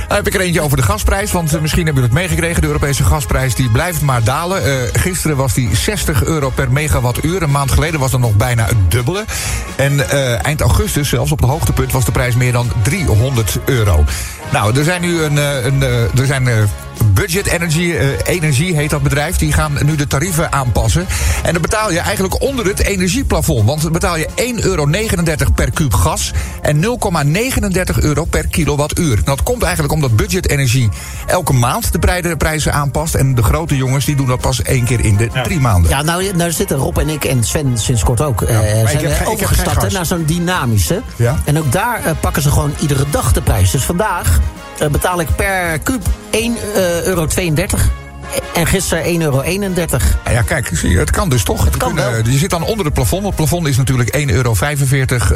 Speaker 6: Dan heb ik er eentje over de gasprijs. Want eh, misschien hebben jullie het meegekregen. De Europese gasprijs die blijft maar dalen. Eh, gisteren was die 60 euro per megawattuur. Een maand geleden was dat nog bijna het dubbele. En eh, eind augustus, zelfs op de hoogtepunt, was de prijs meer dan 300 euro. Nou, er zijn nu een. eh, een eh, er zijn. eh, Budget Energy, eh, Energie heet dat bedrijf. Die gaan nu de tarieven aanpassen. En dan betaal je eigenlijk onder het energieplafond. Want dan betaal je 1,39 euro per kuub gas en 0,39 euro per kilowattuur. En Dat komt eigenlijk omdat Budget Energie elke maand de breidere prijzen aanpast. En de grote jongens die doen dat pas één keer in de drie maanden.
Speaker 5: Ja, nou, nou zitten Rob en ik en Sven sinds kort ook. eh, zijn
Speaker 4: geen- ik heb
Speaker 5: eh,
Speaker 4: geen
Speaker 5: overgestapt hè,
Speaker 4: gas.
Speaker 5: naar zo'n dynamische.
Speaker 4: Ja.
Speaker 5: En ook daar eh, pakken ze gewoon iedere dag de prijs. Dus vandaag eh, betaal ik per kuub 1,32 euro. En gisteren 1,31 euro.
Speaker 6: Nou ja, kijk, zie je, het kan dus toch. Het
Speaker 5: kan wel.
Speaker 6: Je zit dan onder het plafond. Het plafond is natuurlijk 1,45 euro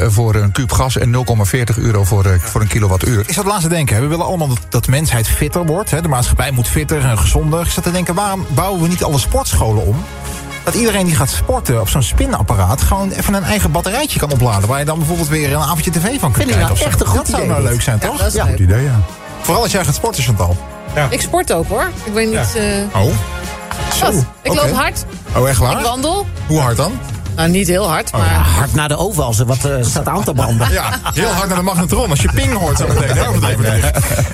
Speaker 6: eh, voor een kuub gas en 0,40 euro voor, eh, voor een kilowattuur.
Speaker 2: Ik zat laatst te denken, hè, we willen allemaal dat, dat mensheid fitter wordt. Hè? De maatschappij moet fitter en gezonder. Ik zat te denken, waarom bouwen we niet alle sportscholen om? Dat iedereen die gaat sporten op zo'n spinapparaat... gewoon even een eigen batterijtje kan opladen... waar je dan bijvoorbeeld weer een avondje tv van kunt
Speaker 5: Vind ik
Speaker 2: kijken.
Speaker 5: nou
Speaker 2: of zo.
Speaker 5: echt een goed
Speaker 2: dat zou
Speaker 5: idee,
Speaker 2: nou
Speaker 5: dit.
Speaker 2: leuk zijn, toch?
Speaker 9: dat is leuk.
Speaker 4: idee, ja.
Speaker 2: Vooral als jij gaat sporten, Chantal.
Speaker 9: Ik sport ook hoor. Ik weet niet. eh,
Speaker 2: Oh,
Speaker 9: wat. Ik
Speaker 2: oké.
Speaker 9: loop hard.
Speaker 2: oh echt
Speaker 9: Ik
Speaker 2: waar?
Speaker 9: wandel.
Speaker 2: Hoe hard dan?
Speaker 9: Nou, niet heel hard, maar.
Speaker 5: Hard naar de ovalzen, wat eh, staat aan te branden.
Speaker 2: Ja, heel hard naar de magnetron. Als je ping hoort, zo meteen. hè, op het overleg.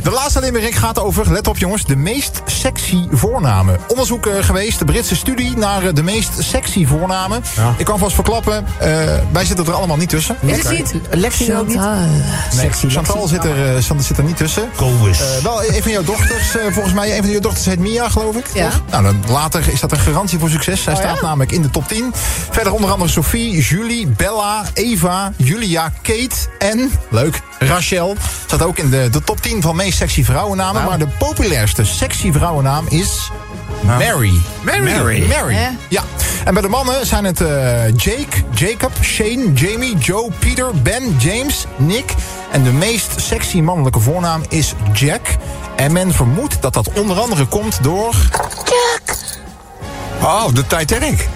Speaker 2: De laatste limerick gaat over, let op jongens, de meest sexy voornamen. Onderzoek eh, geweest, de Britse studie naar eh, de meest sexy voornamen. Ik kan vast verklappen, eh, wij zitten er allemaal niet tussen.
Speaker 9: Is het niet?
Speaker 5: Lexi ook niet.
Speaker 2: Nee,
Speaker 5: Sexy
Speaker 2: Chantal
Speaker 5: Lexi.
Speaker 2: zit er, eh, Chantal zit er niet tussen. Eh, wel, een van jouw dochters, eh, volgens mij, een van jouw dochters heet Mia, geloof ik.
Speaker 9: Ja.
Speaker 2: toch? Nou, dan later is dat een garantie voor succes. Zij
Speaker 9: Oh,
Speaker 2: staat
Speaker 9: ja?
Speaker 2: namelijk in de top 10. Verder onder andere Sophie, Julie, Bella, Eva, Julia, Kate en, leuk, Rachel. Staat ook in de, de top 10 van meest sexy vrouwennamen. Maar de populairste sexy vrouwennaam is Mary.
Speaker 6: Mary.
Speaker 2: Mary.
Speaker 6: Mary.
Speaker 2: Ja. En bij de mannen zijn het eh, Jake, Jacob, Shane, Jamie, Joe, Peter, Ben, James, Nick. En de meest sexy mannelijke voornaam is Jack. En men vermoedt dat dat onder andere komt door... Jack!
Speaker 6: Oh, de Titanic.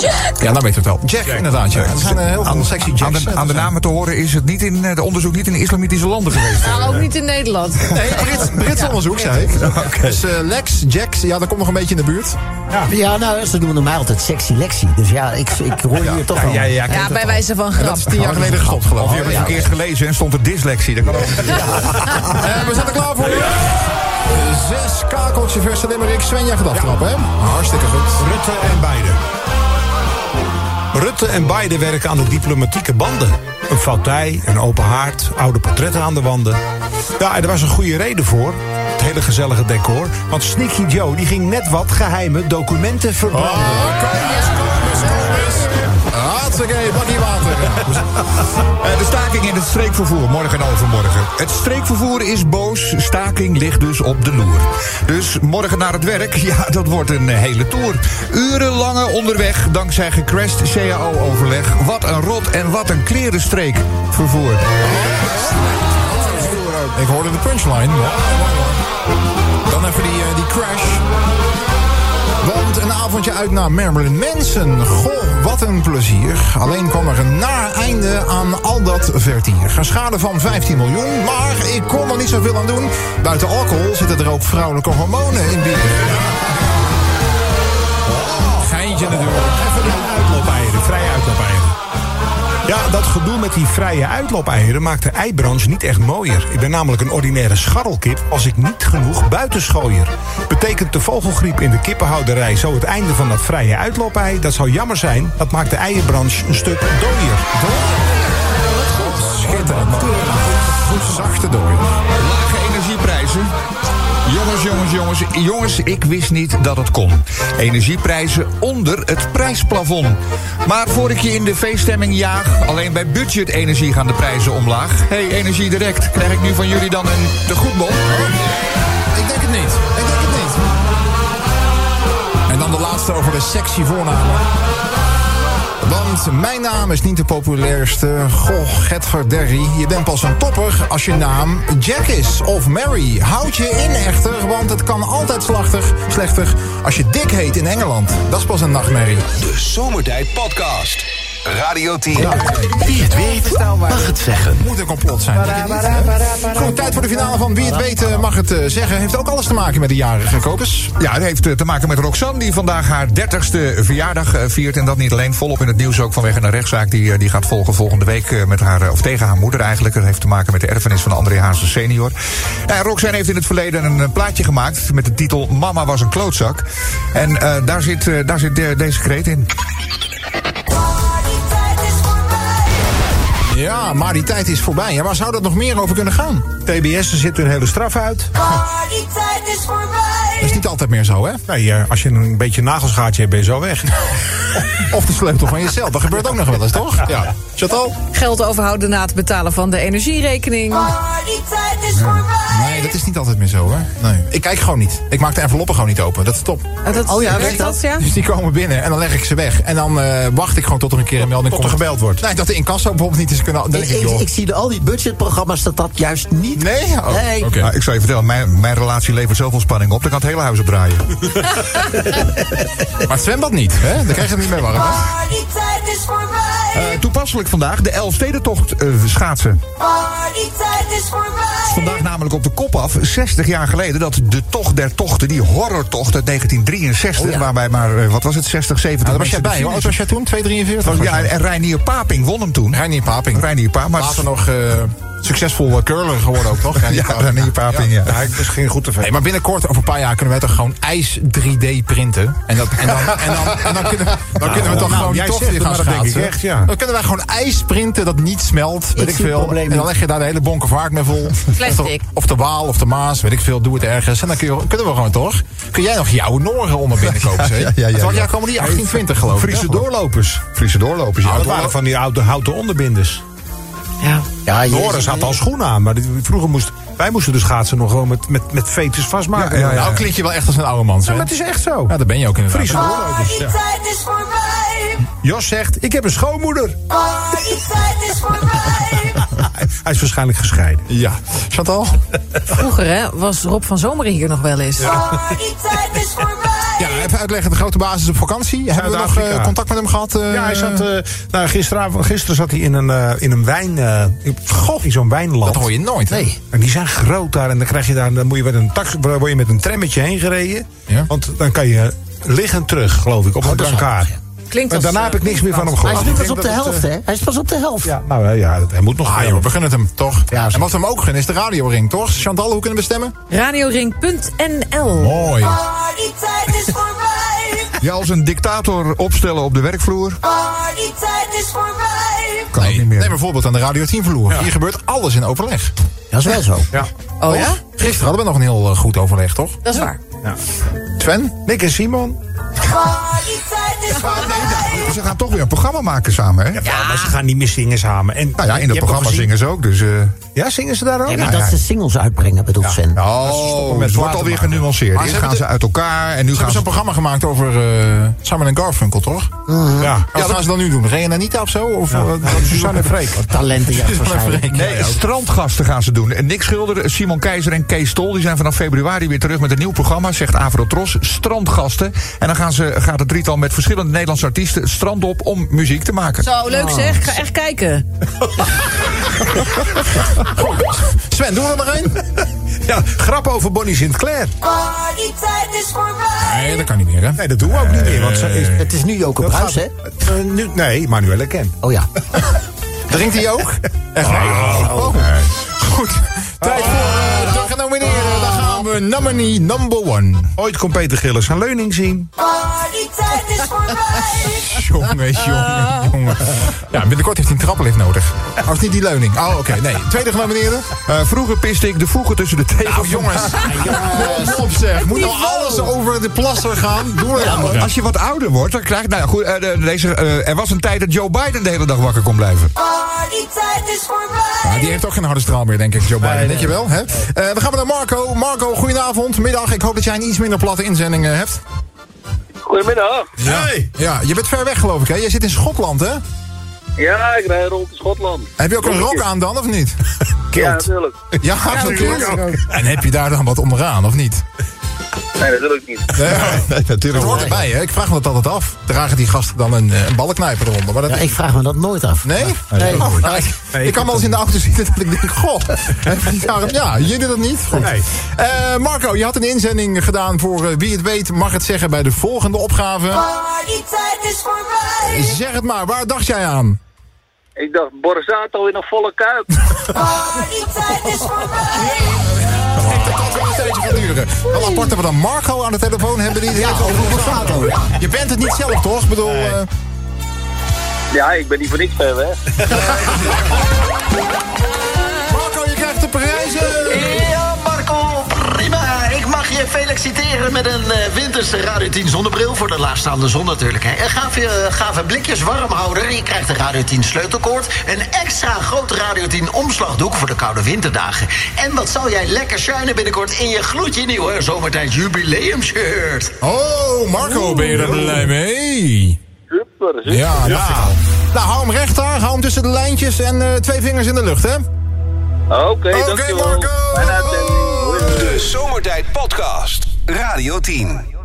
Speaker 2: Jack! Ja, nou weet het wel. Jack, inderdaad. Ja. Er zijn eh, heel veel sexy Jacks. dus,
Speaker 6: Aan de, aan de namen te horen is het niet in eh, de onderzoek niet in islamitische landen geweest.
Speaker 9: Nou, ook niet in Nederland.
Speaker 2: eh, Nee, Brits, Brits onderzoek, zei ik. Dus eh, Lex, Jax, ja, dat komt nog een beetje in de buurt.
Speaker 5: Ja, nou, ze noemen mij altijd sexy Lexi. Dus ja, ik, ik hoor hier toch wel.
Speaker 9: Ja, bij wijze van grap.
Speaker 6: Oh, Of je hebt het verkeerd gelezen en stond er dyslexie. Dat kan ook.
Speaker 2: Eh, we zijn er klaar voor. Zes kakeltje verse Limerick. Sven, jij gaat aftrappen, hè? Hartstikke goed.
Speaker 4: Rutte en Biden. Rutte en Biden werken aan de diplomatieke banden. Een fauteuil, een open haard, oude portretten aan de wanden. Ja, en er was een goede reden voor. Het hele gezellige decor. Want Sneaky Joe die ging net wat geheime documenten
Speaker 2: Oh,
Speaker 4: verbranden.
Speaker 2: Hartstikke, bakkie water.
Speaker 6: Eh, De staking in het streekvervoer, morgen en overmorgen. Het streekvervoer is boos, staking ligt dus op de loer. Dus morgen naar het werk, ja, dat wordt een eh, hele tour. Urenlange onderweg, dankzij gecrashed CAO-overleg. Wat een rot en wat een klerenstreekvervoer.
Speaker 2: Ik hoorde de punchline. Dan even die, eh, die crash. Want een avondje uit naar Marilyn Manson. Goh, wat een plezier. Alleen kwam er een naar einde aan al dat vertier. Een schade van 15 miljoen, maar ik kon er niet zoveel aan doen. Buiten alcohol zitten er ook vrouwelijke hormonen in bier.
Speaker 4: Geintje natuurlijk. Even die uitloopeieren, vrije uitloopeieren. Ja, dat gedoe met die vrije uitloopeieren maakt de eibranche niet echt mooier. Ik ben namelijk een ordinaire scharrelkip als ik niet genoeg buitenschooier. Betekent de vogelgriep in de kippenhouderij zo het einde van dat vrije uitloopei? Dat zou jammer zijn, dat maakt de eierbranche een stuk dooier.
Speaker 2: Schitterend. Zachte dooier.
Speaker 6: Lage energieprijzen. Jongens, jongens, jongens, jongens, ik wist niet dat het kon. Energieprijzen onder het prijsplafond. Maar voor ik je in de feeststemming jaag, alleen bij budget energie gaan de prijzen omlaag. Hé, hey, energie direct, krijg ik nu van jullie dan een tegoedbon?
Speaker 2: Ik denk het niet. Ik denk het niet. En dan de laatste over de sexy voornamen. Want mijn naam is niet de populairste. Goh, Getver Derry. Je bent pas een topper als je naam Jack is of Mary. Houd je in echter, want het kan altijd slachtig, slechter als je dik heet in Engeland. Dat is pas een nachtmerrie.
Speaker 1: De Zomertijd Podcast. Radio 10.
Speaker 8: Wie het nou weet, mag het zeggen.
Speaker 2: Moet een complot zijn. denk je niet? Goed, tijd voor de finale van Wie het weet eh, mag het eh, zeggen. Heeft ook alles te maken met de jarige kopers.
Speaker 6: Ja, het heeft eh, te maken met Roxanne, die vandaag haar 30ste verjaardag eh, viert. En dat niet alleen volop in het nieuws, ook vanwege een rechtszaak die, eh, die gaat volgen volgende week eh, met haar, eh, of tegen haar moeder eigenlijk. Het heeft te maken met de erfenis van André Haase senior. Nou, Roxanne heeft in het verleden een eh, plaatje gemaakt met de titel Mama was een klootzak. En eh, daar zit, eh, daar zit eh, deze kreet in.
Speaker 2: Ja, maar die tijd is voorbij. Ja, waar zou dat nog meer over kunnen gaan?
Speaker 4: TBS zit hun hele straf uit.
Speaker 2: Dat is niet altijd meer zo, hè?
Speaker 4: Nee, eh, als je een beetje nagelschaartje hebt, ben je zo weg.
Speaker 2: Of de sleutel van je cel. Dat gebeurt ook nog wel eens, toch? Ja. Chantal?
Speaker 9: Geld overhouden na het betalen van de energierekening.
Speaker 10: Oh,
Speaker 2: Nee, dat is niet altijd meer zo, hè? Nee. Ik kijk gewoon niet. Ik maak de enveloppen gewoon niet open. Dat is top.
Speaker 9: En dat,
Speaker 5: Oh ja,
Speaker 9: werkt
Speaker 5: werkt
Speaker 9: dat? Ja?
Speaker 2: Dus die komen binnen en dan leg ik ze weg. En dan eh, wacht ik gewoon tot er een keer een melding
Speaker 4: Tot er
Speaker 2: komt.
Speaker 4: gebeld wordt.
Speaker 2: Nee, dat de incasso bijvoorbeeld niet is kunnen... Dan denk
Speaker 5: Ik,
Speaker 2: ik,
Speaker 5: ik,
Speaker 2: joh.
Speaker 5: ik zie de- al die budgetprogramma's dat dat juist niet.
Speaker 2: Nee? Oh,
Speaker 5: Nee.
Speaker 2: oké.
Speaker 6: Nou, ik zou je vertellen, mijn, mijn relatie levert zoveel spanning op, dan kan het hele huis opdraaien.
Speaker 2: Maar het zwembad niet, hè? Dan krijg je het niet meer warm,
Speaker 6: Ah.
Speaker 2: hè? Nou,
Speaker 6: Eh, toepasselijk vandaag, de Elfstedentocht eh schaatsen. Vandaag namelijk op de kop af, 60 jaar geleden, dat de tocht der tochten, die horrortocht uit 1963,
Speaker 4: Oh
Speaker 6: waarbij maar, eh, wat was het, 60, 70
Speaker 2: Nou, daar was jij
Speaker 6: mensen
Speaker 2: bij.
Speaker 6: de
Speaker 2: Hoe oud was
Speaker 6: finish-
Speaker 2: jij toen? 2,43?
Speaker 6: Was-
Speaker 4: Oh,
Speaker 2: was
Speaker 6: Ja,
Speaker 2: jij.
Speaker 6: en Reinier Paping won hem toen.
Speaker 2: Reinier Paping.
Speaker 6: Reinier Paping. Maar
Speaker 2: Later nog eh, succesvol eh, curler geworden ook, toch?
Speaker 6: Ja, Reinier Paping, ja.
Speaker 4: Ja, dat is geen goed te
Speaker 2: Hey, maar binnenkort, over een paar jaar, kunnen wij toch gewoon ijs 3D printen? En, dat, en, dan, en, dan, en dan kunnen, dan kunnen we toch
Speaker 4: nou,
Speaker 2: gewoon die
Speaker 4: jij
Speaker 2: tocht
Speaker 4: zegt
Speaker 2: weer
Speaker 4: het,
Speaker 2: gaan
Speaker 4: maar dat denk ik
Speaker 2: schaatsen.
Speaker 4: echt, ja.
Speaker 2: Dan kunnen wij gewoon ijs printen dat niet smelt, weet ik,
Speaker 5: zie het
Speaker 2: veel.
Speaker 5: probleem
Speaker 2: En dan
Speaker 5: niet.
Speaker 2: leg je daar de hele bonkenvaart mee vol.
Speaker 9: Plastic.
Speaker 2: Of de Waal of de Maas, weet ik veel, doe het ergens. En dan kun je, kunnen we gewoon toch? Kun jij nog je oude Noren onder binnenkopen, zeg?
Speaker 6: ja, ja, ja,
Speaker 2: Welk
Speaker 6: ja.
Speaker 2: jaar komen die? 1820 geloof ik.
Speaker 4: Friese
Speaker 2: Ja,
Speaker 4: doorlopers.
Speaker 6: Friese doorlopers. Ja,
Speaker 4: Dat waren van die oude houten onderbinders.
Speaker 9: Ja.
Speaker 5: Ja, jezus.
Speaker 4: Doris had al schoenen aan, maar dit- vroeger moest Wij moesten dus schaatsen nog gewoon met, met, met veters vastmaken.
Speaker 2: Ja, ja, ja. Nou klink je wel echt als een oude man,
Speaker 4: Ja,
Speaker 2: hè?
Speaker 4: maar het is echt zo. Ja,
Speaker 2: daar ben je ook inderdaad.
Speaker 4: Friese
Speaker 2: Ah,
Speaker 4: hoor, dus, ja.
Speaker 11: tijd is voorbij.
Speaker 4: Jos zegt, ik heb een schoonmoeder.
Speaker 11: Ah, die tijd is voorbij.
Speaker 4: Hij is waarschijnlijk gescheiden.
Speaker 2: Ja. Chantal?
Speaker 9: Vroeger hè, was Rob van Zomeren hier nog wel eens.
Speaker 11: Ah, die tijd is voorbij.
Speaker 2: Ja, even uitleggen. De grote basis op vakantie. Hebben we nog
Speaker 4: Zuid-Afrika.
Speaker 2: eh, contact met hem gehad? eh?
Speaker 4: Ja, hij zat, eh, nou, gisteravond, gisteren zat hij in een, eh, in een wijn. eh, goh, in zo'n wijnland.
Speaker 2: Dat hoor je nooit. Nee.
Speaker 4: En die zijn groot daar. En dan, krijg je daar, dan moet je met een tax, word je met een trammetje heen gereden.
Speaker 2: Ja.
Speaker 4: Want dan kan je liggen terug, geloof ik, op
Speaker 6: Oh,
Speaker 4: een
Speaker 12: dat is
Speaker 4: brancard.
Speaker 9: Klinkt
Speaker 4: En
Speaker 9: als,
Speaker 4: daarna
Speaker 9: eh,
Speaker 4: heb ik niks meer van hem
Speaker 12: Hij
Speaker 4: gehoord.
Speaker 12: is nu
Speaker 4: Ik
Speaker 12: pas
Speaker 4: denk
Speaker 12: op de
Speaker 4: dat het,
Speaker 12: helft,
Speaker 4: eh,
Speaker 12: hè? Hij is pas op de helft.
Speaker 4: Ja, nou ja, dat- hij moet nog
Speaker 2: Ah
Speaker 4: wel.
Speaker 2: joh, we gunnen het hem, toch? en wat we hem ook gunnen is de radioring, toch? Chantal, hoe kunnen we stemmen?
Speaker 9: Radioring.nl.
Speaker 2: Mooi.
Speaker 11: Ah, die tijd is voorbij.
Speaker 6: Ja, als een dictator opstellen op de werkvloer.
Speaker 11: Ah, die tijd is voorbij.
Speaker 2: Kan
Speaker 6: ook niet meer.
Speaker 2: Neem bijvoorbeeld aan de Radio 10 vloer. Hier gebeurt alles in overleg.
Speaker 12: Dat is wel zo.
Speaker 9: Oh ja?
Speaker 2: Gisteren hadden we nog een heel eh, goed overleg, toch?
Speaker 9: Dat is waar.
Speaker 2: Sven?
Speaker 4: Nick en Simon.
Speaker 11: Ah, die tijd is voorbij.
Speaker 6: Ze gaan toch weer een programma maken samen, hè?
Speaker 4: Ja, maar ze gaan niet meer zingen samen. En,
Speaker 6: Nou ja,
Speaker 4: je
Speaker 6: in dat
Speaker 4: hebt
Speaker 6: programma
Speaker 4: toch gezien-
Speaker 6: zingen ze ook, dus... eh nou
Speaker 4: Ja, zingen ze daar ook?
Speaker 12: Nee, maar
Speaker 4: Ja,
Speaker 12: dat
Speaker 4: ja.
Speaker 12: ze singles uitbrengen, bedoelt Sven.
Speaker 6: Oh,
Speaker 4: met
Speaker 6: het wordt
Speaker 4: platen
Speaker 6: alweer
Speaker 4: maken.
Speaker 6: genuanceerd.
Speaker 2: Maar
Speaker 6: Eerst
Speaker 2: ze
Speaker 6: gaan
Speaker 2: hebben
Speaker 6: ze uit elkaar en nu
Speaker 2: Ze
Speaker 6: gaan
Speaker 2: hebben
Speaker 6: ze...
Speaker 2: zo'n programma gemaakt over eh Simon en Garfunkel, toch?
Speaker 4: Ja.
Speaker 2: Ja, wat gaan ze dan nu doen? Regen en Anita of zo? Of eh, wat-
Speaker 4: Suzanne en Freek.
Speaker 12: Talenten, ja,
Speaker 2: Suzanne en
Speaker 12: waarschijnlijk.
Speaker 2: Freek.
Speaker 6: Nee, strandgasten gaan ze doen. En Nick Schilder, Simon Keizer en Kees Tol... die zijn vanaf februari weer terug met een nieuw programma... zegt Avrotros, strandgasten. En dan gaan ze, gaat het drietal met verschillende Nederlandse artiesten... het strand op om muziek te maken.
Speaker 9: Zo, leuk zeg. Ik ga echt kijken.
Speaker 2: Sven, doen we er nog één?
Speaker 4: Ja, grap over Bonnie Sinclair.
Speaker 11: Ah, die tijd is voorbij.
Speaker 2: Nee, dat kan niet meer, hè?
Speaker 4: Nee, dat doen we ook niet meer. Want ze is,
Speaker 12: Het is nu Joke
Speaker 4: dat
Speaker 12: Bruis,
Speaker 4: gaat-
Speaker 12: hè?
Speaker 4: eh, nu, nee, Manuel Ken.
Speaker 12: Oh ja.
Speaker 2: Drinkt hij ook? Echt nee. Oh. Goed. Tijd voor eh, de genomineerden. Daar gaan we. Nominee number one.
Speaker 4: Ooit kon Peter Gillis zijn leuning zien.
Speaker 11: Ah, die tijd is voorbij.
Speaker 2: Jongen, jongen, jongen. Ja, binnenkort heeft hij een trappenlift nodig. Of niet die leuning. Oh, oké. Nee. Tweede genomineerde.
Speaker 6: Eh, vroeger piste ik Ah, de voegen tussen de tegels.
Speaker 2: Oh, jongens. Kom op, zeg. Moet nou alles over de plasser gaan? Doe het
Speaker 6: Ja,
Speaker 2: allemaal.
Speaker 6: maar als je wat ouder wordt, dan krijg je... Nou ja, goed, eh, eh, deze, eh, er was een tijd dat Joe Biden de hele dag wakker kon blijven.
Speaker 11: Ah, die tijd is
Speaker 2: Maar
Speaker 11: voorbij.
Speaker 2: die heeft ook geen harde straal meer, denk ik, Joe Biden. Denk je wel, hè? Eh, we gaan naar Marco. Marco, goedenavond. Middag. Ik hoop dat jij een iets minder platte inzending eh, hebt.
Speaker 13: Goedemiddag.
Speaker 2: Ja. Ja, je bent ver weg, geloof ik, hè? Jij zit in Schotland, hè?
Speaker 13: Ja, ik rij rond in Schotland.
Speaker 2: Heb je ook een rok aan dan, of niet?
Speaker 13: Ja, natuurlijk.
Speaker 2: Ja, natuurlijk. En heb je daar dan wat onderaan, of niet?
Speaker 13: Nee, natuurlijk niet.
Speaker 2: Nee, dat hoort erbij, hè? Ik vraag me dat altijd af. Dragen die gasten dan een, eh, een ballenknijper eronder? Maar dat
Speaker 12: Ja, ik vraag me dat nooit af.
Speaker 2: Nee?
Speaker 12: Nee.
Speaker 2: Oh, nou, ik, ik kan wel eens in de auto zitten dat ik denk, goh, heb je daarom- ja, jullie dat niet? Goed.
Speaker 4: Nee.
Speaker 2: Eh, Marco, je had een inzending gedaan voor eh, Wie het weet mag het zeggen bij de volgende opgave.
Speaker 11: Ah, die tijd is voorbij.
Speaker 2: Zeg het maar, waar dacht jij aan?
Speaker 13: Ik dacht, Borzato in een volle kuip.
Speaker 11: Ah, die tijd is voorbij.
Speaker 2: Dat kan wel een tijdje gaan duren. Wel apart dat we dan Marco aan de telefoon hebben die het heeft over Borsato. Je bent het niet zelf, toch? Ik bedoel, eh,
Speaker 13: Ja, ik ben niet voor niks ver weg.
Speaker 2: Marco, je krijgt de prijzen!
Speaker 5: Ja, Marco, prima. Ik mag je feliciteren met een eh, winterse Radio 10 zonnebril. Voor de laagstaande zon natuurlijk. Hè. En gaaf, je, gave blikjes warmhouder. Je krijgt een Radio 10 sleutelkoord. Een extra groot Radio 10 omslagdoek voor de koude winterdagen. En wat zal jij lekker shinen binnenkort in je gloedje nieuwe zomertijd jubileum shirt.
Speaker 2: Oh, Marco, ben je er blij mee?
Speaker 13: Super, super.
Speaker 2: Ja, ja. Nou, hou hem recht daar, hou hem tussen de lijntjes en eh, twee vingers in de lucht, hè?
Speaker 13: Oké,
Speaker 2: Oké,
Speaker 13: dankjewel.
Speaker 2: Marco.
Speaker 13: Fijne uitzending. Hoi.
Speaker 1: De Zomertijd Podcast. Radio 10.